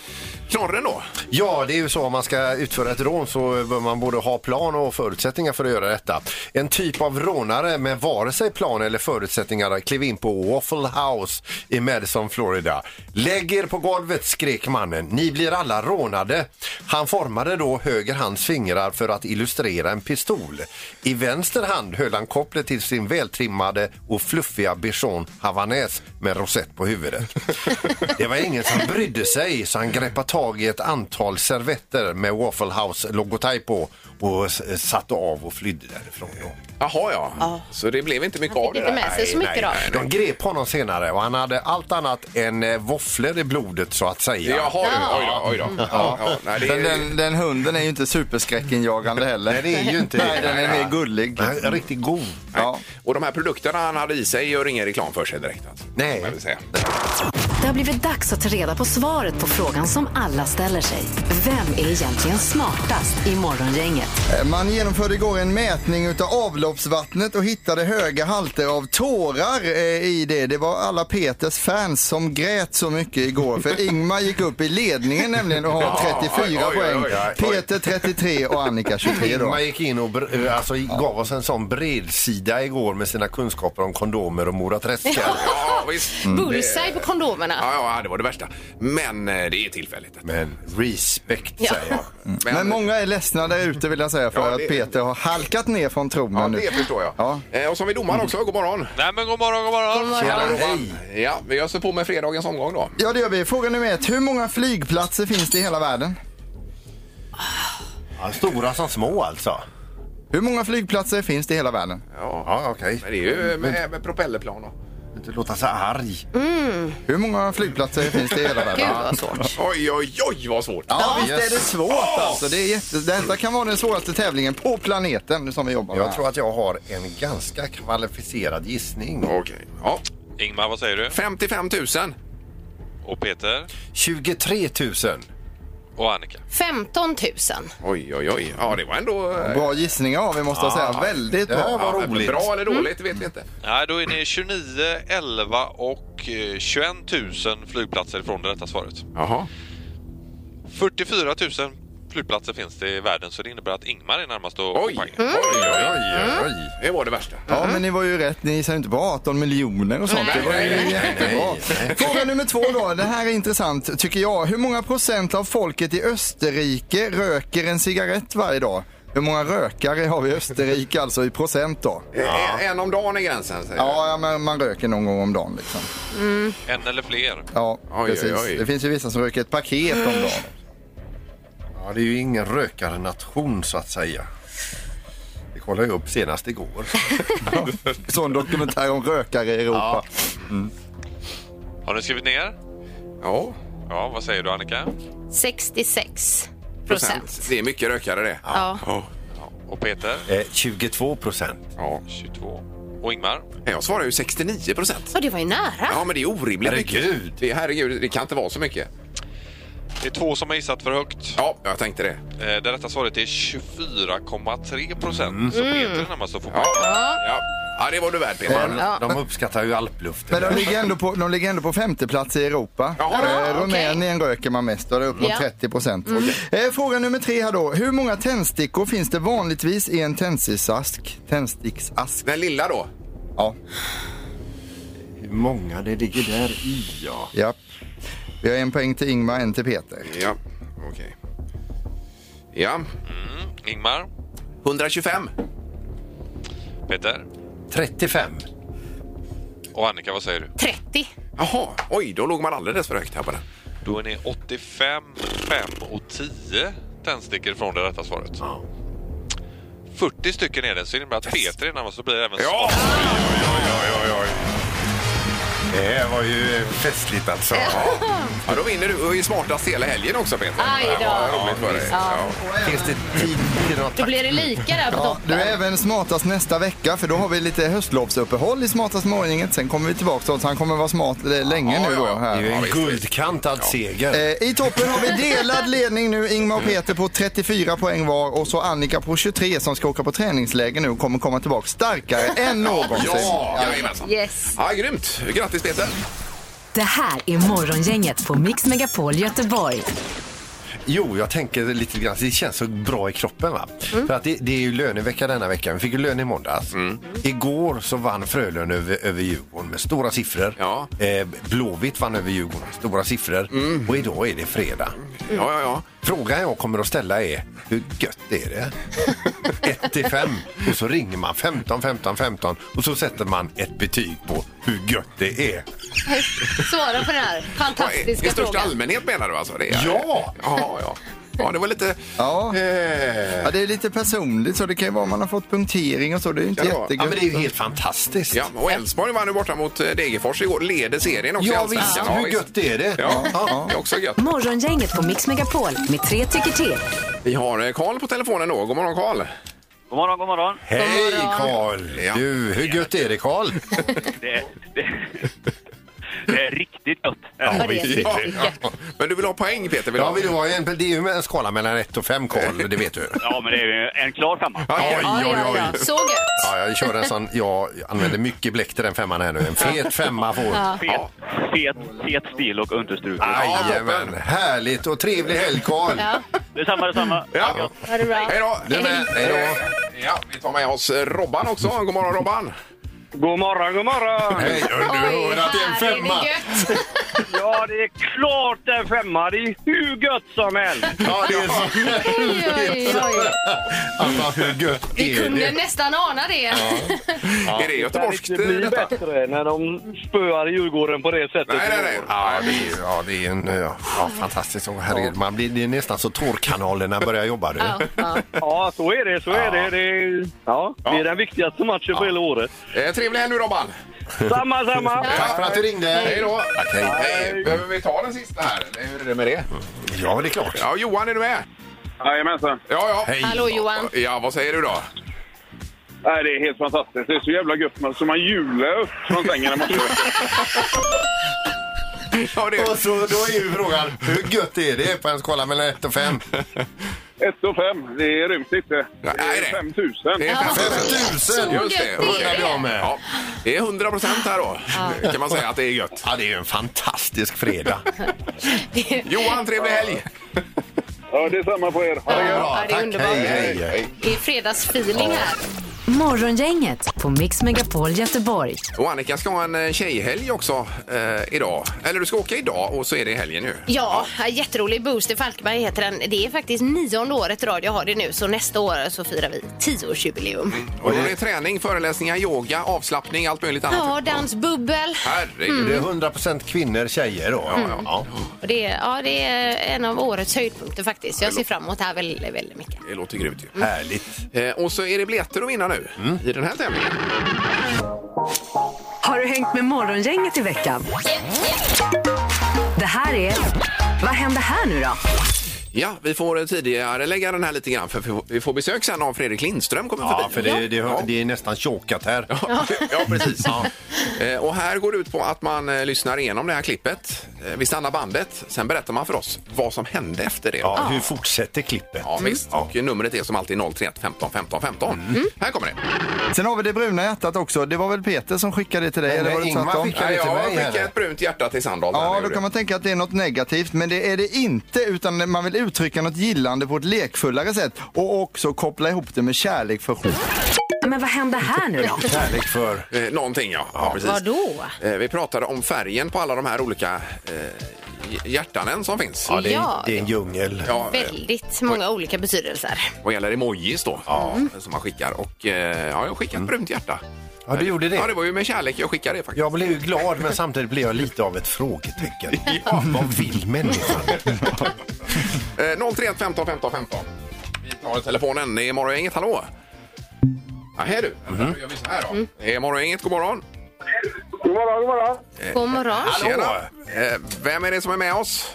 Speaker 4: Knorren då?
Speaker 5: Ja, det är ju så om man ska utföra ett rån så bör man både ha plan och förutsättningar för att göra detta. En typ av rånare med vare sig plan eller förutsättningar klev in på Waffle House i Madison, Florida. Lägg er på golvet, skrek mannen. Ni blir alla rånade. Han formade då höger hands fingrar för att illustrera en pistol. I vänster hand höll han kopplet till sin vältrimmade och fluffiga bichon havanäs med rosett på huvudet. Det var ingen som brydde sig så han greppade tag i ett antal servetter med Waffle House logotyp på och s- satte av och flydde därifrån. Då.
Speaker 4: Jaha, ja. Så det blev inte mycket
Speaker 6: Han
Speaker 4: av det
Speaker 6: fick inte med sig så mycket då.
Speaker 5: De grep honom senare och han hade allt annat än eh, våfflor i blodet så att säga.
Speaker 4: Jaha, ja. oj då, oj
Speaker 6: Mm.
Speaker 4: då. Ja, ja, nej, det
Speaker 7: Den,
Speaker 4: är...
Speaker 7: den, den hunden är ju inte superskräckenjagande heller.
Speaker 5: Nej, det är ju inte det.
Speaker 7: Nej, den är mer gullig.
Speaker 5: Han är Riktigt god.
Speaker 7: Ja.
Speaker 4: Och de här produkterna han hade i sig gör ingen reklam för sig direkt. Alltså.
Speaker 5: Nej.
Speaker 4: Kan man väl säga.
Speaker 3: Det har blivit dags att ta reda på svaret på frågan som alla ställer sig. Vem är egentligen smartast i Morgongänget?
Speaker 7: Man genomförde igår en mätning utav avloppsvattnet och hittade höga halter av tårar eh, i det. Det var alla Peters fans som grät så mycket igår för Ingmar gick upp i ledningen nämligen och har
Speaker 4: Ja,
Speaker 7: 34
Speaker 4: oj, oj, oj,
Speaker 7: poäng.
Speaker 4: oj, oj.
Speaker 7: Peter 33 och Annika 23 då.
Speaker 5: Man gick in och br- eh, alltså, gav oss en sån bredsida igår med sina kunskaper om kondomer och moraträskar.
Speaker 4: Ja, visst.
Speaker 6: Mm.
Speaker 7: Mm.
Speaker 4: Mm.
Speaker 6: Bullseye på kondomerna.
Speaker 4: Ja, ja, det var det värsta. Men eh, det är tillfälligt.
Speaker 5: Men respekt
Speaker 6: Ja.
Speaker 5: säger jag.
Speaker 4: Men, eh,
Speaker 7: Men många är ledsna där ute vill jag säga för
Speaker 4: Ja, det-
Speaker 7: att Peter har halkat ner från
Speaker 4: Ja,
Speaker 7: tronen nu.
Speaker 4: det förstår jag.
Speaker 7: Ja. Mm.
Speaker 4: Eh, Och så har vi domaren också. God morgon.
Speaker 10: Nej men god morgon, god morgon.
Speaker 5: Tjena, hej!
Speaker 4: Ja, vi öser på med fredagens omgång då.
Speaker 7: Ja, det gör vi. Fråga nummer ett. Hur många flygplatser finns det i hela världen?
Speaker 5: Ja, stora som små alltså.
Speaker 7: Hur många flygplatser finns det i hela världen?
Speaker 5: Ja, okej.
Speaker 4: Men det är ju
Speaker 7: Mm.
Speaker 4: med, med propellerplan då.
Speaker 5: Inte låta så arg.
Speaker 7: Hur många flygplatser finns det i hela världen?
Speaker 6: Gud vad svårt.
Speaker 4: Oj, oj, oj vad svårt.
Speaker 7: Ja, visst
Speaker 5: yes.
Speaker 7: är det svårt alltså. Det är jätte... Detta kan vara den svåraste tävlingen på planeten som vi jobbar med.
Speaker 5: Jag tror att jag har en ganska kvalificerad gissning.
Speaker 4: Okej. Ja.
Speaker 10: Ingmar, vad säger du?
Speaker 4: 55 000.
Speaker 10: Och Peter?
Speaker 5: 23 000.
Speaker 10: Och Annika?
Speaker 6: 15 000.
Speaker 4: Oj, oj, oj. Ja, det var ändå... eh,
Speaker 7: Bra gissningar av er måste jag säga. Väldigt
Speaker 5: Det här
Speaker 7: bra.
Speaker 5: var
Speaker 4: ja,
Speaker 5: roligt.
Speaker 4: Bra eller
Speaker 7: Mm.
Speaker 4: dåligt vet vi inte.
Speaker 10: Nej, då är ni 29, 11 och eh, 21 000 flygplatser ifrån det rätta svaret.
Speaker 4: Jaha.
Speaker 10: 44 000 flygplatser finns det i världen så det innebär att Ingmar är närmast och
Speaker 4: Oj,
Speaker 7: Mm.
Speaker 4: oj, oj, oj, oj. Det var det värsta.
Speaker 7: Ja, men ni var ju rätt. Ni gissade ju inte på 18 miljoner och sånt. Det var ju jättebra. Fråga nummer två då. Det här är intressant tycker jag. Hur många procent av folket i Österrike röker en cigarett varje dag? Hur många rökare har vi i Österrike alltså i procent då?
Speaker 4: En- En om dagen är gränsen säger
Speaker 7: Ja, ja, men man röker någon gång om dagen liksom.
Speaker 10: En eller fler.
Speaker 7: Ja,
Speaker 4: oj,
Speaker 7: precis.
Speaker 4: oj.
Speaker 7: Det finns ju vissa som röker ett paket om dagen.
Speaker 5: Ja, det är ju ingen rökarnation så att säga. Vi kollade ju upp senast igår.
Speaker 7: Sån dokumentär om rökare i Europa.
Speaker 10: Har ni skrivit ner?
Speaker 4: Ja.
Speaker 10: Ja, vad säger du Annika?
Speaker 6: 66
Speaker 4: Procent.
Speaker 6: procent.
Speaker 4: Det är mycket rökare det.
Speaker 6: Ja.
Speaker 4: Ja.
Speaker 10: Och Peter?
Speaker 5: Eh, 22 procent.
Speaker 4: ja.
Speaker 10: 22. Och Ingmar?
Speaker 4: Jag svarar ju 69 procent.
Speaker 6: Och det var ju nära.
Speaker 4: Ja, men det är orimligt
Speaker 5: Herregud.
Speaker 4: mycket. Det, herregud, det kan inte vara så mycket.
Speaker 10: Det är två som har gissat för högt.
Speaker 4: Ja, jag tänkte det.
Speaker 10: Eh, Det rätta svaret är 24,3 procent. Så Peter är närmast och får
Speaker 4: Ja, ja. ja det var du värd Peter.
Speaker 6: Ja.
Speaker 5: De uppskattar ju
Speaker 7: Men
Speaker 5: alpluften.
Speaker 7: de ligger, ändå på, de ligger ändå på femte plats i Europa.
Speaker 4: Jaha. Mm.
Speaker 7: eh, Rumänien röker man mest, och det är upp mot
Speaker 6: Ja.
Speaker 7: 30 procent. Eh, fråga nummer tre här då. Hur många tändstickor finns det vanligtvis i en tändsticksask? Tändsticksask?
Speaker 4: Den lilla då?
Speaker 7: Ja.
Speaker 5: Hur många det ligger där i, ja.
Speaker 7: ja. Vi har en poäng till Ingmar, en till Peter.
Speaker 4: Ja, okej. Ja,
Speaker 10: Ingmar,
Speaker 4: 125.
Speaker 10: Peter
Speaker 5: 35.
Speaker 10: och Annika, vad säger du?
Speaker 6: 30.
Speaker 4: Jaha, oj, då låg man alldeles för högt här på den.
Speaker 10: Då är ni 85, 5 och 10 tändstickor från det rätta svaret. 40 stycken är det, så det innebär att Peter är närmast och blir även
Speaker 4: Ja!
Speaker 10: smartast.
Speaker 4: Oj, oj, oj, oj, oj.
Speaker 5: Det var ju festligt alltså.
Speaker 4: Ja, då vinner du och är smartast hela helgen också Peter.
Speaker 6: Aj då.
Speaker 4: Ja, vad roligt för dig.
Speaker 6: Ja.
Speaker 4: Ja.
Speaker 5: Finns det tid till något?
Speaker 6: Då blir det lika där på
Speaker 7: Ja,
Speaker 6: toppen.
Speaker 7: du är även smartast nästa vecka för då har vi lite höstlovsuppehåll i smartast morgongänget. Sen kommer vi tillbaka så att han kommer vara smart eh, länge
Speaker 4: Ja,
Speaker 7: nu
Speaker 4: ja,
Speaker 7: då.
Speaker 4: ja.
Speaker 5: Det är
Speaker 7: Här.
Speaker 5: ju en guldkantad seger.
Speaker 7: Eh, I toppen har vi delad ledning nu. Ingmar och Peter på 34 poäng var och så Annika på 23 som ska åka på träningsläger nu och kommer komma tillbaka starkare än någonsin.
Speaker 4: Ja, jajamensan.
Speaker 6: Yes. Mm.
Speaker 4: Ja, grymt. Grattis Peter.
Speaker 3: Det här är Morgongänget på Mix Megapol Göteborg.
Speaker 5: Jo, jag tänker lite grann. Det känns så bra i kroppen. va? För att det, det är ju lönevecka denna vecka. Vi fick ju lön i måndags. Igår så vann Frölunda över, över Djurgården med stora siffror.
Speaker 4: Ja.
Speaker 5: Eh, Blåvitt vann över Djurgården med stora siffror. Och idag är det fredag.
Speaker 4: Ja, ja, ja.
Speaker 5: Frågan jag kommer att ställa är hur gött är det? 1 till 5 och så ringer man 15 15 15 och så sätter man ett betyg på hur gött det är.
Speaker 6: Svara på den här
Speaker 4: Ja, I i
Speaker 6: fantastiska
Speaker 4: största
Speaker 6: frågan.
Speaker 4: allmänhet menar du alltså? Det är,
Speaker 5: Ja!
Speaker 4: ja! Ja, ja. det var lite...
Speaker 7: Ja.
Speaker 4: Eh,
Speaker 7: Ja, det är lite personligt så det kan ju vara om man har fått punktering och så. Det är ju inte
Speaker 4: Kan det vara?
Speaker 5: Ja, men
Speaker 7: jättegött.
Speaker 5: det är ju helt fantastiskt.
Speaker 4: ja, och Elfsborg vann ju borta mot eh, Degerfors igår. Leder serien också i
Speaker 5: Ja,
Speaker 4: Allsvenskan.
Speaker 5: visst,
Speaker 4: Ja,
Speaker 5: hur gött är det?
Speaker 4: Ja, det är också gött.
Speaker 3: Morgongänget på Mix Megapol med tre tycker till.
Speaker 4: Vi har eh, Karl på telefonen då. God morgon Karl!
Speaker 2: God morgon, god morgon.
Speaker 5: Hej Karl!
Speaker 4: Ja.
Speaker 5: Du, hur gött är det Karl?
Speaker 2: Det är, det, det är riktigt gött.
Speaker 6: Ja, det är riktigt gött.
Speaker 4: Men du vill ha poäng Peter? Vill du
Speaker 5: Ja,
Speaker 4: ha?
Speaker 5: vill du ha en, det är ju en skala mellan 1 och 5 Karl, det vet du.
Speaker 2: Ja, men det är en klar femma.
Speaker 5: Oj,
Speaker 6: Ja, ja, ja. Så gött.
Speaker 5: Ja, jag kör en sån, jag använder mycket bläck till den femman här nu. En fet femma får
Speaker 2: Fet, fet, fet stil och understruket.
Speaker 5: Jajamän, härligt och trevlig helg Karl!
Speaker 6: Ja,
Speaker 2: Detsamma, detsamma.
Speaker 4: Ja.
Speaker 6: ha det bra.
Speaker 4: Hej då!
Speaker 5: Du med, hej då!
Speaker 4: Ja, vi tar med oss eh, Robban också. God morgon Robban!
Speaker 2: God morgon, god morgon.
Speaker 5: Hej, du hör att det är en
Speaker 6: här är
Speaker 5: femma!
Speaker 6: det gött.
Speaker 2: Ja, det är klart det är femma. Det är hur gött som helst.
Speaker 5: Ja, det är så
Speaker 6: Oj, oj, oj.
Speaker 5: Alltså, hur gött
Speaker 6: Vi
Speaker 5: är
Speaker 6: kunde
Speaker 5: det?
Speaker 6: nästan ana det.
Speaker 4: Är det göteborgskt eh,
Speaker 2: Det blir
Speaker 4: detta?
Speaker 2: bättre när de spöar Djurgården på det sättet.
Speaker 4: Nej, nej, nej.
Speaker 5: Ja, det är, ja, det är en ja, ja, fantastisk sång. Herregud, man blir, det är nästan så tårkanalerna börjar jobba nu.
Speaker 6: Ja, ja.
Speaker 2: Ja, så är det. Så är det. det är, ja, det
Speaker 4: Ja.
Speaker 2: är den viktigaste matchen på hela året.
Speaker 4: Eh, trevlig helg nu Robban!
Speaker 2: Samma, samma.
Speaker 5: Tack för att du ringde!
Speaker 4: Hej då!
Speaker 5: Okej.
Speaker 4: Hej. Behöver vi ta den sista här? eller Hur är det med det?
Speaker 5: Ja, det är klart.
Speaker 4: Ja, Johan är du med?
Speaker 2: Jajamensan.
Speaker 4: Ja, ja.
Speaker 5: Hej.
Speaker 6: Hallå Johan.
Speaker 4: Ja, vad säger du då?
Speaker 2: Nej, det är helt fantastiskt. Det är så jävla gött. Man, så man jular upp från sängen när man
Speaker 4: Ja, det
Speaker 5: Och så, då är ju frågan, hur gött är det på en skala mellan 1 och 5?
Speaker 2: 1 och 5, det ryms inte.
Speaker 4: Nej, det är
Speaker 2: 5
Speaker 4: Det
Speaker 2: 000.
Speaker 4: är 5
Speaker 5: Tusen!
Speaker 4: Just det.
Speaker 6: gött
Speaker 5: är det.
Speaker 4: Ja, det är 100 procent här då. Kan man säga att det är gött.
Speaker 5: Ja, det är ju en fantastisk fredag.
Speaker 4: Johan, trevlig helg!
Speaker 2: Ja, det är samma på er.
Speaker 6: Ja, det är
Speaker 5: Hej,
Speaker 6: underbart.
Speaker 5: hej, hej.
Speaker 6: Det är fredagsfeeling här.
Speaker 3: Morgongänget på Mix Megapol Göteborg.
Speaker 4: Och Annika ska ha en eh, tjejhelg också eh, idag. Eller du ska åka idag och så är det i helgen nu.
Speaker 6: Ja, jätterolig. Booster Falkberg heter den. Det är faktiskt nionde året i rad jag har det nu, så nästa år så firar vi tioårsjubileum.
Speaker 4: Och då är det träning, föreläsningar, yoga, avslappning, allt möjligt annat.
Speaker 6: Ja, dansbubbel.
Speaker 4: Herregud.
Speaker 5: Det är 100% kvinnor, tjejer då. Ja, ja.
Speaker 6: Och det, är- ja, det är en av årets höjdpunkter faktiskt. Jag ser fram emot det här väldigt, väldigt mycket.
Speaker 4: Det låter grymt ju.
Speaker 5: Mm. Härligt.
Speaker 4: Eh, och så är det biljetter att vinna nu
Speaker 5: Mm.
Speaker 4: i den här tävlingen.
Speaker 3: Har du hängt med Morgongänget i veckan? Det här är... Vad händer här nu då?
Speaker 4: Ja, vi får eh, tidigare lägga den här lite grann för vi får- vi får besök sen av Fredrik Lindström kommer
Speaker 5: Ja,
Speaker 4: förbi.
Speaker 5: för det, det, det är nästan chokat här.
Speaker 4: Ja, precis. Eh, Och här går det ut på att man eh, lyssnar igenom det här klippet. Eh, Vi stannar bandet, sen berättar man för oss vad som hände efter det.
Speaker 5: Ja, Mm. hur fortsätter klippet?
Speaker 4: Ja, visst. Och numret är som alltid 031 15 15 15. Här kommer det.
Speaker 7: Sen har vi det bruna hjärtat också. Det var väl Peter som skickade det till dig?
Speaker 5: Nej,
Speaker 7: eller var det
Speaker 5: Ingmar
Speaker 7: tvärtom?
Speaker 5: skickade-
Speaker 4: Nej,
Speaker 5: det till
Speaker 4: jag
Speaker 5: mig,
Speaker 4: skickade
Speaker 5: eller?
Speaker 4: ett brunt hjärta till Sandahl. där,
Speaker 7: Ja,
Speaker 4: gjorde
Speaker 7: då kan
Speaker 4: jag.
Speaker 7: man tänka att det är något negativt, men det är det inte utan man vill uttrycka något gillande på ett lekfullare sätt och också koppla ihop det med kärlek för
Speaker 3: Men vad händer här nu då?
Speaker 5: Kärlek för...
Speaker 4: Eh, Någonting, ja. ja precis.
Speaker 6: Vadå?
Speaker 4: Eh, Vi pratade om färgen på alla de här olika eh, hjärtanen som finns.
Speaker 5: Ja, det, är,
Speaker 6: Ja.
Speaker 5: det är en djungel.
Speaker 4: Ja, eh,
Speaker 6: Väldigt många olika betydelser.
Speaker 4: vad gäller emojis då, som man skickar. Och eh, ja, jag skickade ett brunt hjärta.
Speaker 5: Ja, du gjorde
Speaker 4: Ja,
Speaker 5: det.
Speaker 4: det var ju med kärlek jag skickade det faktiskt.
Speaker 5: Jag blev ju glad, men samtidigt blev jag lite av ett frågetecken. Vad vill människan?
Speaker 4: Eh, 031 15 15 15. Vi tar telefonen. Det är Morgongänget. Mm-hmm. Mm. Hallå! Ja, här du. Vänta, Nu gör vi så här då. Det är Morgongänget. God morgon!
Speaker 1: God morgon, god morgon.
Speaker 6: God morgon.
Speaker 4: Tjena! Eh, Vem är det som är med oss?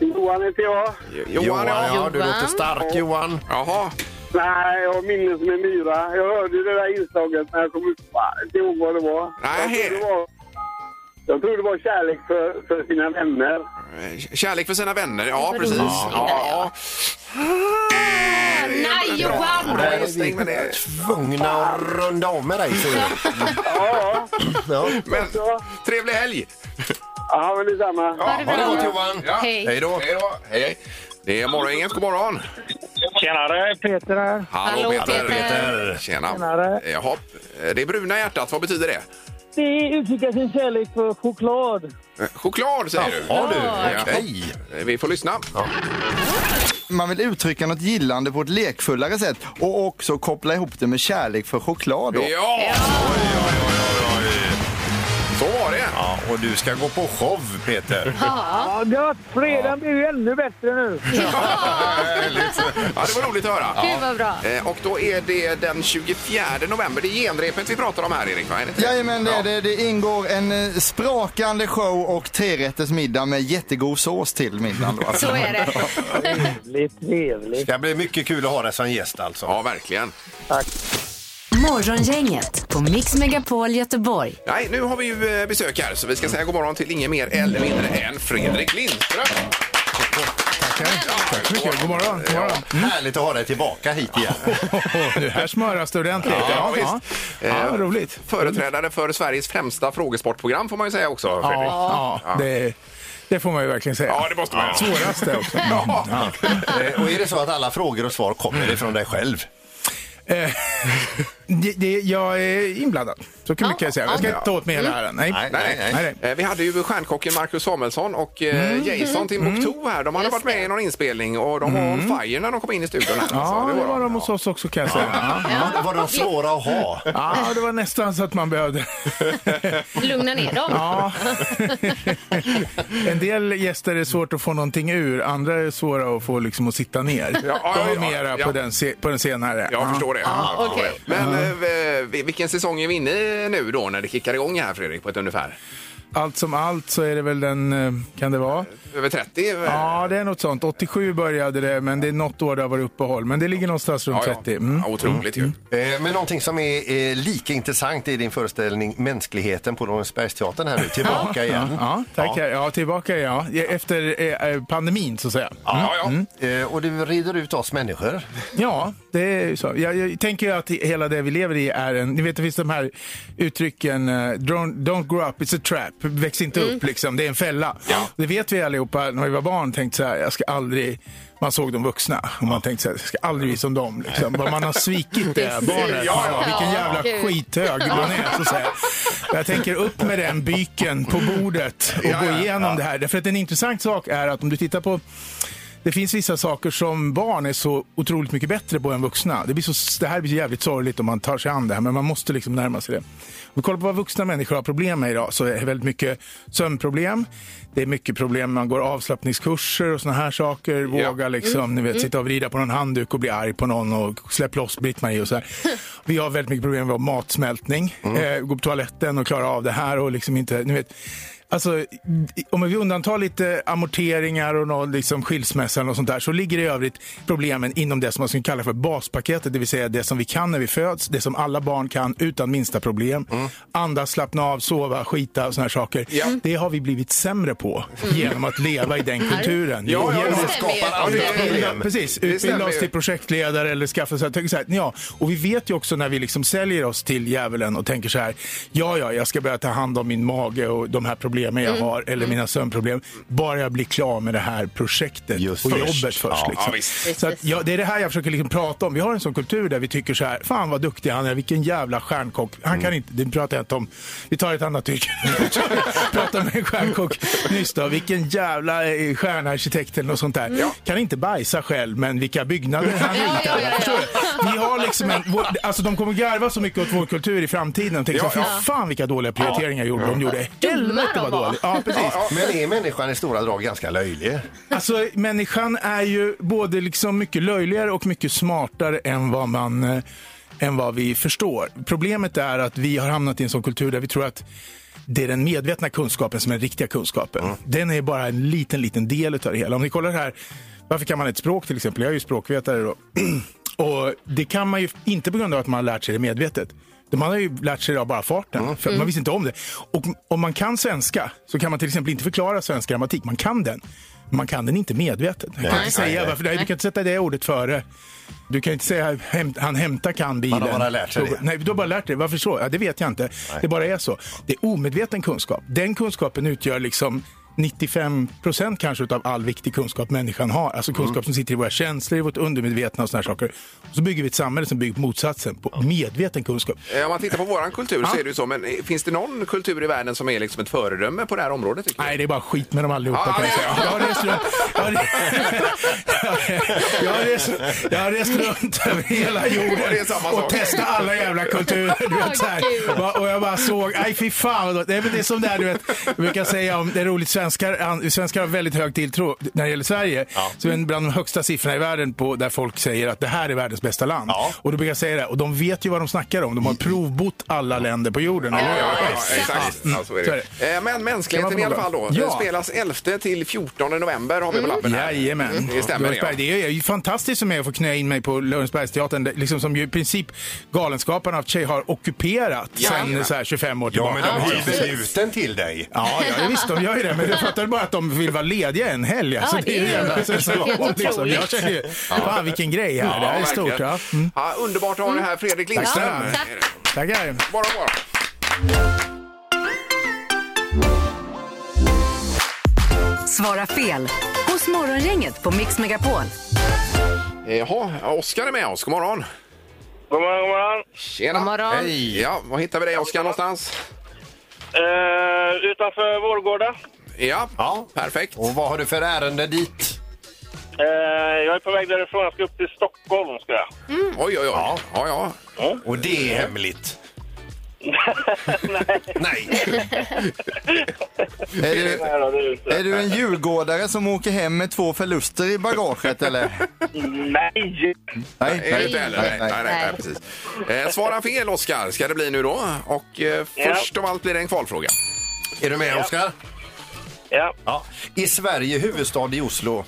Speaker 1: Johan heter jag.
Speaker 4: Jo-
Speaker 5: Johan,
Speaker 4: Johan, ja.
Speaker 5: ja, du
Speaker 6: Johan.
Speaker 5: låter stark Johan.
Speaker 4: Jaha.
Speaker 1: Nej, jag har minnen som en myra. Jag hörde det där inslaget men jag kommer inte ihåg vad det var.
Speaker 4: Nej.
Speaker 1: Jag tror det var, jag tror det var kärlek för, för sina vänner.
Speaker 4: Eh, Kärlek för sina vänner, ja
Speaker 6: Det var
Speaker 4: precis.
Speaker 6: roligt.
Speaker 4: Ja,
Speaker 6: Ah, Nej, Johan!
Speaker 4: Bra
Speaker 5: Nej, vi
Speaker 4: gissning, men
Speaker 5: är
Speaker 4: det-
Speaker 5: tvungna att runda av med dig. ser du.
Speaker 1: Ja,
Speaker 5: Ja.
Speaker 4: Men trevlig helg!
Speaker 1: ja men detsamma.
Speaker 4: Ja,
Speaker 6: det bra.
Speaker 4: Johan! Ja.
Speaker 6: Hej.
Speaker 4: Hej då!
Speaker 8: Hej då.
Speaker 4: Hej, hej. Det är morgongänget, god morgon!
Speaker 1: Tjenare, Peter här.
Speaker 4: Hallå,
Speaker 6: Hallå,
Speaker 4: Peter.
Speaker 6: Peter.
Speaker 4: Tjena!
Speaker 1: Tjenare.
Speaker 4: Eh, Jaha, eh, det är bruna hjärtat, vad betyder det?
Speaker 9: Det uttrycker sin kärlek för choklad.
Speaker 4: Eh, Choklad säger du?
Speaker 5: Ja du,
Speaker 4: Ja.
Speaker 5: okej.
Speaker 4: Eh, Vi får lyssna.
Speaker 7: Man vill uttrycka något gillande på ett lekfullare sätt och också koppla ihop det med kärlek för choklad. Då.
Speaker 4: Ja! Oj, oj, oj, oj, oj. Så var det.
Speaker 5: Ja, och du ska gå på show Peter.
Speaker 9: Ja, gött! Fredagen blir ju ännu bättre nu.
Speaker 4: Härligt. Ja, det var roligt att höra.
Speaker 6: Gud, vad bra.
Speaker 4: Eh, Och då är det den 24 november. Det är genrepet vi pratar om här, Erik. Va? Är det inte det?
Speaker 7: Jajamän, det,
Speaker 4: Ja.
Speaker 7: är det, det ingår en eh, sprakande show och trerättersmiddag med jättegod sås till middagen. Då. alltså.
Speaker 6: Så är det.
Speaker 9: Trevligt, trevligt.
Speaker 5: Det blir mycket kul att ha dig som gäst alltså.
Speaker 4: Ja, verkligen.
Speaker 3: Morgongänget på Mix Megapol Göteborg.
Speaker 4: Nej, nu har vi ju eh, besök här, så vi ska säga god morgon till ingen mer eller mindre än Fredrik Lindström.
Speaker 11: Tack så mycket. God morgon. God morgon.
Speaker 5: Ja, Härligt att ha dig tillbaka hit igen.
Speaker 11: Nu här smöras det ordentligt.
Speaker 4: Ja, visst.
Speaker 11: ja. ja
Speaker 4: Eh,
Speaker 11: vad roligt.
Speaker 4: Företrädare för Sveriges främsta frågesportprogram får man ju säga också, Fredrik.
Speaker 11: Ja, det, det får man ju verkligen säga.
Speaker 4: Ja, det måste man göra.
Speaker 11: Svårast det också.
Speaker 4: Ja.
Speaker 5: Eh, och är det så att alla frågor och svar
Speaker 11: Mm.
Speaker 5: kommer ifrån dig själv?
Speaker 11: Eh, det, det, jag är inblandad, så kan mycket jag säga. Jag ska inte ta åt mig hela äran. Nej.
Speaker 5: Nej, nej,
Speaker 4: Nej,
Speaker 5: nej.
Speaker 11: Nej, Mhm. nej.
Speaker 4: Eh, Vi hade ju stjärnkocken Marcus Samuelsson och eh, Jason
Speaker 11: Mm.
Speaker 4: Timbuktu här. De hade
Speaker 6: Just
Speaker 4: varit med
Speaker 6: det.
Speaker 4: i någon inspelning och de var on fire när de kom in i studion. Här,
Speaker 11: Ja,
Speaker 4: alltså.
Speaker 11: det var de hos oss också kan jag säga. Ja.
Speaker 5: Var, var de svåra att ha?
Speaker 11: Ja, det var nästan så att man behövde.
Speaker 6: Lugna ner dem.
Speaker 11: Ja. En del gäster är svårt att få någonting ur, andra är svåra att få liksom att sitta ner.
Speaker 4: Ja, ja,
Speaker 11: De
Speaker 4: ja,
Speaker 11: är mera
Speaker 4: ja.
Speaker 11: på den, se- på den senare.
Speaker 4: Jag
Speaker 11: Ja.
Speaker 4: förstår det. Jag förstår
Speaker 6: okej.
Speaker 4: det. Men eh, vi- vilken säsong är vi inne i nu då när det kickar igång här Fredrik på ett ungefär?
Speaker 11: Allt som allt så är det väl den, eh, kan det vara?
Speaker 4: Över 30? eh,
Speaker 11: Ja, det är något sånt. 87 började det, men det är något år det har varit uppehåll. Men det ligger någonstans runt
Speaker 4: ja, ja.
Speaker 11: 30. Mm.
Speaker 4: Ja, otroligt ju.
Speaker 5: Eh, Men någonting som är eh, lika intressant i din föreställning Mänskligheten på Långsbergsteatern här nu, tillbaka igen.
Speaker 11: Ja, tack. Ja. ja, tillbaka ja. Ja, Efter eh, eh, pandemin så att säga.
Speaker 4: Ja, ja.
Speaker 5: Eh, Och du rider ut oss människor.
Speaker 11: Ja, det är ju så. Jag, jag tänker ju att hela det vi lever i är en... Ni vet, det finns de här uttrycken, eh, don't, don't grow up, it's a trap. Väx inte upp liksom, det är en fälla. Det vet vi allihopa när vi var barn, tänkte så här, jag ska aldrig... Man såg de vuxna och man tänkte så här, jag ska aldrig bli som dem. Liksom. Vad Man har svikit det här
Speaker 6: Precis.
Speaker 11: barnet.
Speaker 6: Ja, ja.
Speaker 11: Vilken
Speaker 6: Ja,
Speaker 11: jävla
Speaker 6: gud.
Speaker 11: skithög man är. Så att säga. Jag tänker upp med den byken på bordet och gå igenom det här. Därför att en intressant sak är att om du tittar på det finns vissa saker som barn är så otroligt mycket bättre på än vuxna. Det, blir så, det här blir jävligt sorgligt om man tar sig an det här, men man måste liksom närma sig det. Om vi kollar på vad vuxna människor har problem med idag så är det väldigt mycket sömnproblem. Det är mycket problem, man går avslappningskurser och såna här saker. Våga liksom, ni vet, sitta och vrida på någon handduk och bli arg på någon och släpp loss Britt-Marie och så här. Vi har väldigt mycket problem med matsmältning.
Speaker 4: Mm.
Speaker 11: Eh, gå på toaletten och klara av det här och liksom inte, ni vet. Alltså, om vi undantar lite amorteringar och någon liksom skilsmässan och sånt där så ligger det i övrigt problemen inom det som man skulle kalla för baspaketet, det vill säga det som vi kan när vi föds, det som alla barn kan utan minsta problem. Andas, slappna av, sova, skita och såna här saker.
Speaker 4: Mm. Ja. Mm.
Speaker 11: Det har vi blivit sämre på genom att leva i den kulturen.
Speaker 4: Ja, ja,
Speaker 11: genom
Speaker 4: det
Speaker 11: att
Speaker 6: stämmer ju.
Speaker 5: skapar
Speaker 6: Det
Speaker 5: andra
Speaker 6: stämmer ju.
Speaker 5: problem.
Speaker 11: Precis,
Speaker 4: stämmer
Speaker 11: utbilda
Speaker 4: ju.
Speaker 11: oss till projektledare eller skaffa så här, tänk så här, ja. Och vi vet ju också när vi liksom säljer oss till djävulen och tänker så här, ja, ja, jag ska börja ta hand om min mage och de här problemen jag har eller mina sömnproblem. Bara jag blir klar med det här projektet
Speaker 5: Just
Speaker 11: och
Speaker 5: först.
Speaker 11: jobbet först.
Speaker 5: Ja,
Speaker 11: liksom.
Speaker 4: ja, visst.
Speaker 11: så att, ja, det är det här jag försöker liksom prata om. Vi har en sån kultur där vi tycker så här, fan vad duktig han är, vilken jävla stjärnkock. Han kan inte, det pratar jag inte om. Vi tar ett annat yrke. pratar med en stjärnkock nyss då, vilken jävla eh, stjärnarkitekt eller något sånt där. Kan inte bajsa själv, men vilka byggnader han
Speaker 6: Ja,
Speaker 11: ritar.
Speaker 6: ja, ja, ja.
Speaker 11: Förstår du? Vi har liksom en, vår, alltså de kommer garva så mycket åt vår kultur i framtiden och tänka
Speaker 4: Ja,
Speaker 11: så här,
Speaker 4: ja.
Speaker 11: fy fan vilka dåliga prioriteringar gjorde. de gjorde. Helvete
Speaker 6: de
Speaker 11: vad
Speaker 6: var.
Speaker 11: dåligt. Ja, precis.
Speaker 5: Men är människan i stora drag ganska löjlig?
Speaker 11: Alltså, människan är ju både liksom mycket löjligare och mycket smartare än vad man eh, än vad vi förstår. Problemet är att vi har hamnat i en sån kultur där vi tror att det är den medvetna kunskapen som är den riktiga kunskapen. Den är bara en liten, liten del av det hela. Om ni kollar här, varför kan man ett språk till exempel? Jag är ju språkvetare då. Och det kan man ju inte på grund av att man har lärt sig det medvetet. Man har ju lärt sig det av bara farten, för
Speaker 12: Mm.
Speaker 11: man visste inte om det. Och om man kan svenska så kan man till exempel inte förklara svensk grammatik. Man kan den, men man kan den inte medvetet. Man kan
Speaker 12: Nej,
Speaker 11: inte
Speaker 12: nej,
Speaker 11: säga
Speaker 12: nej.
Speaker 11: varför, nej, du kan inte sätta det ordet före. Du kan inte säga hämt, han hämtar kan bilen.
Speaker 12: Man har bara lärt sig det.
Speaker 11: Nej, du har bara lärt dig. Varför så? Ja, det vet jag inte. Det bara är så. Det är omedveten kunskap. Den kunskapen utgör liksom 95 procent kanske av all viktig kunskap människan har. Alltså
Speaker 12: Mm.
Speaker 11: kunskap som sitter i våra känslor, i vårt undermedvetna och såna här saker. Och så bygger vi ett samhälle som bygger på motsatsen, på medveten kunskap.
Speaker 4: Eh, Om man tittar på våran kultur så är det ju så, men eh, finns det någon kultur i världen som är liksom ett föredöme på det här området? Tycker
Speaker 11: Nej, det är bara skit med dem allihopa
Speaker 4: Ja,
Speaker 11: kan jag
Speaker 4: det-
Speaker 11: säga. Jag har rest runt, jag har, jag har, rest, jag har rest runt över hela
Speaker 12: Det är
Speaker 11: jorden
Speaker 12: samma sak.
Speaker 11: och testat alla jävla kulturer. Du vet, så här. Va- Och jag bara såg, nej fy fan vad dåligt. Det är väl det som det är, du vet, jag brukar säga om, det är roligt, svenskar, an- svenskar har väldigt hög tilltro när det gäller Sverige. Så är det bland de högsta siffrorna i världen på, där folk säger att det här är världens bästa land. Och då brukar jag säga det, och de vet ju vad de snackar om. De har provbott alla länder på jorden. eller hur?
Speaker 4: exakt.
Speaker 11: Mm,
Speaker 4: Ja, så är
Speaker 11: så är
Speaker 4: det. Eh, Men
Speaker 11: Kan
Speaker 4: mänskligheten
Speaker 11: man
Speaker 4: i alla fall då.
Speaker 11: fråga? Ja. Mm.
Speaker 4: eh, Spelas 11 till 14 november har vi på lappen här. Mm,
Speaker 11: Jajamän.
Speaker 4: Det stämmer det,
Speaker 11: Lorensberg,
Speaker 4: ja.
Speaker 11: det är ju fantastiskt som är att få knö in mig på Lorensbergsteatern, det- liksom som ju i princip Galenskaparna av sig har ockuperat sen
Speaker 5: Jajamän.
Speaker 11: så här 25 år
Speaker 5: Ja,
Speaker 11: tillbaka.
Speaker 5: men de har ju besluten till dig.
Speaker 11: Ja, ja, visst de gör ju det. Men jag fattar bara att de vill vara lediga en helg. Alltså,
Speaker 5: Ja,
Speaker 11: det är ju
Speaker 5: det är ju
Speaker 11: jävla sensation.
Speaker 5: helt
Speaker 11: Liksom. Jag känner ju,
Speaker 4: Ja.
Speaker 11: fan vilken grej här. det här är
Speaker 4: verkligen.
Speaker 11: stort. Ja. Mm.
Speaker 4: Ja, underbart att ha det här, Fredrik
Speaker 11: Tack
Speaker 4: Lindström.
Speaker 11: snälla. Tack. Tackar.
Speaker 4: Bara, bara.
Speaker 3: Svara fel hos Morgongänget på Mix Megapol.
Speaker 4: Jaha, Eh, Oskar är med oss. God morgon.
Speaker 13: God morgon, god morgon.
Speaker 4: Tjena.
Speaker 13: God morgon.
Speaker 4: Hej. Ja, var hittar vi dig, Oskar, någonstans?
Speaker 13: Eh, utanför Vårgårda.
Speaker 4: Ja. ja, perfekt.
Speaker 5: Och vad har du för ärende dit?
Speaker 13: Eh, jag är på väg därifrån. Jag ska upp till Stockholm. Ska jag.
Speaker 4: Oj, oj, oj. Ja. Ja,
Speaker 5: Och det är hemligt.
Speaker 4: Nej.
Speaker 7: Är du, är du en djurgårdare som åker hem med två förluster i bagaget eller?
Speaker 13: Nej!
Speaker 7: Nej,
Speaker 4: är det inte heller. Nej, nej, nej, nej, precis. Eh, svara fel, Oskar, ska det bli nu då. Och eh,
Speaker 5: Ja.
Speaker 4: först av allt blir det en kvalfråga.
Speaker 5: Är du med, Oskar?
Speaker 13: Ja.
Speaker 5: ja. I Sverige, huvudstad i Oslo.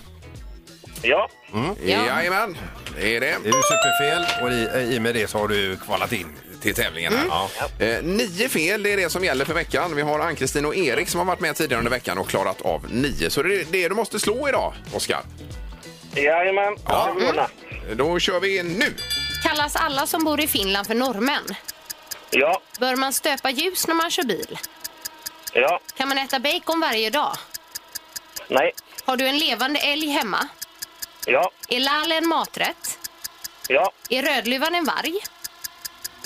Speaker 13: Ja.
Speaker 5: Mm.
Speaker 4: Ja. Jajamän, det är det.
Speaker 5: Det är ju superfel och i, i och med det så har du kvalat in.
Speaker 4: till tävlingen. Här. Eh, nio fel det är det som gäller för veckan. Vi har Ann-Kristin och Erik som har varit med tidigare under veckan och klarat av nio. Så det är det du måste slå idag, Oskar.
Speaker 13: Jajamän. Ja.
Speaker 4: Då kör vi nu.
Speaker 6: Kallas alla som bor i Finland för norrmän?
Speaker 13: Ja.
Speaker 6: Bör man stöpa ljus när man kör bil?
Speaker 13: Ja.
Speaker 6: Kan man äta bacon varje dag?
Speaker 13: Nej.
Speaker 6: Har du en levande älg hemma?
Speaker 13: Ja.
Speaker 6: Är lall en maträtt?
Speaker 13: Ja.
Speaker 6: Är Rödluvan en varg?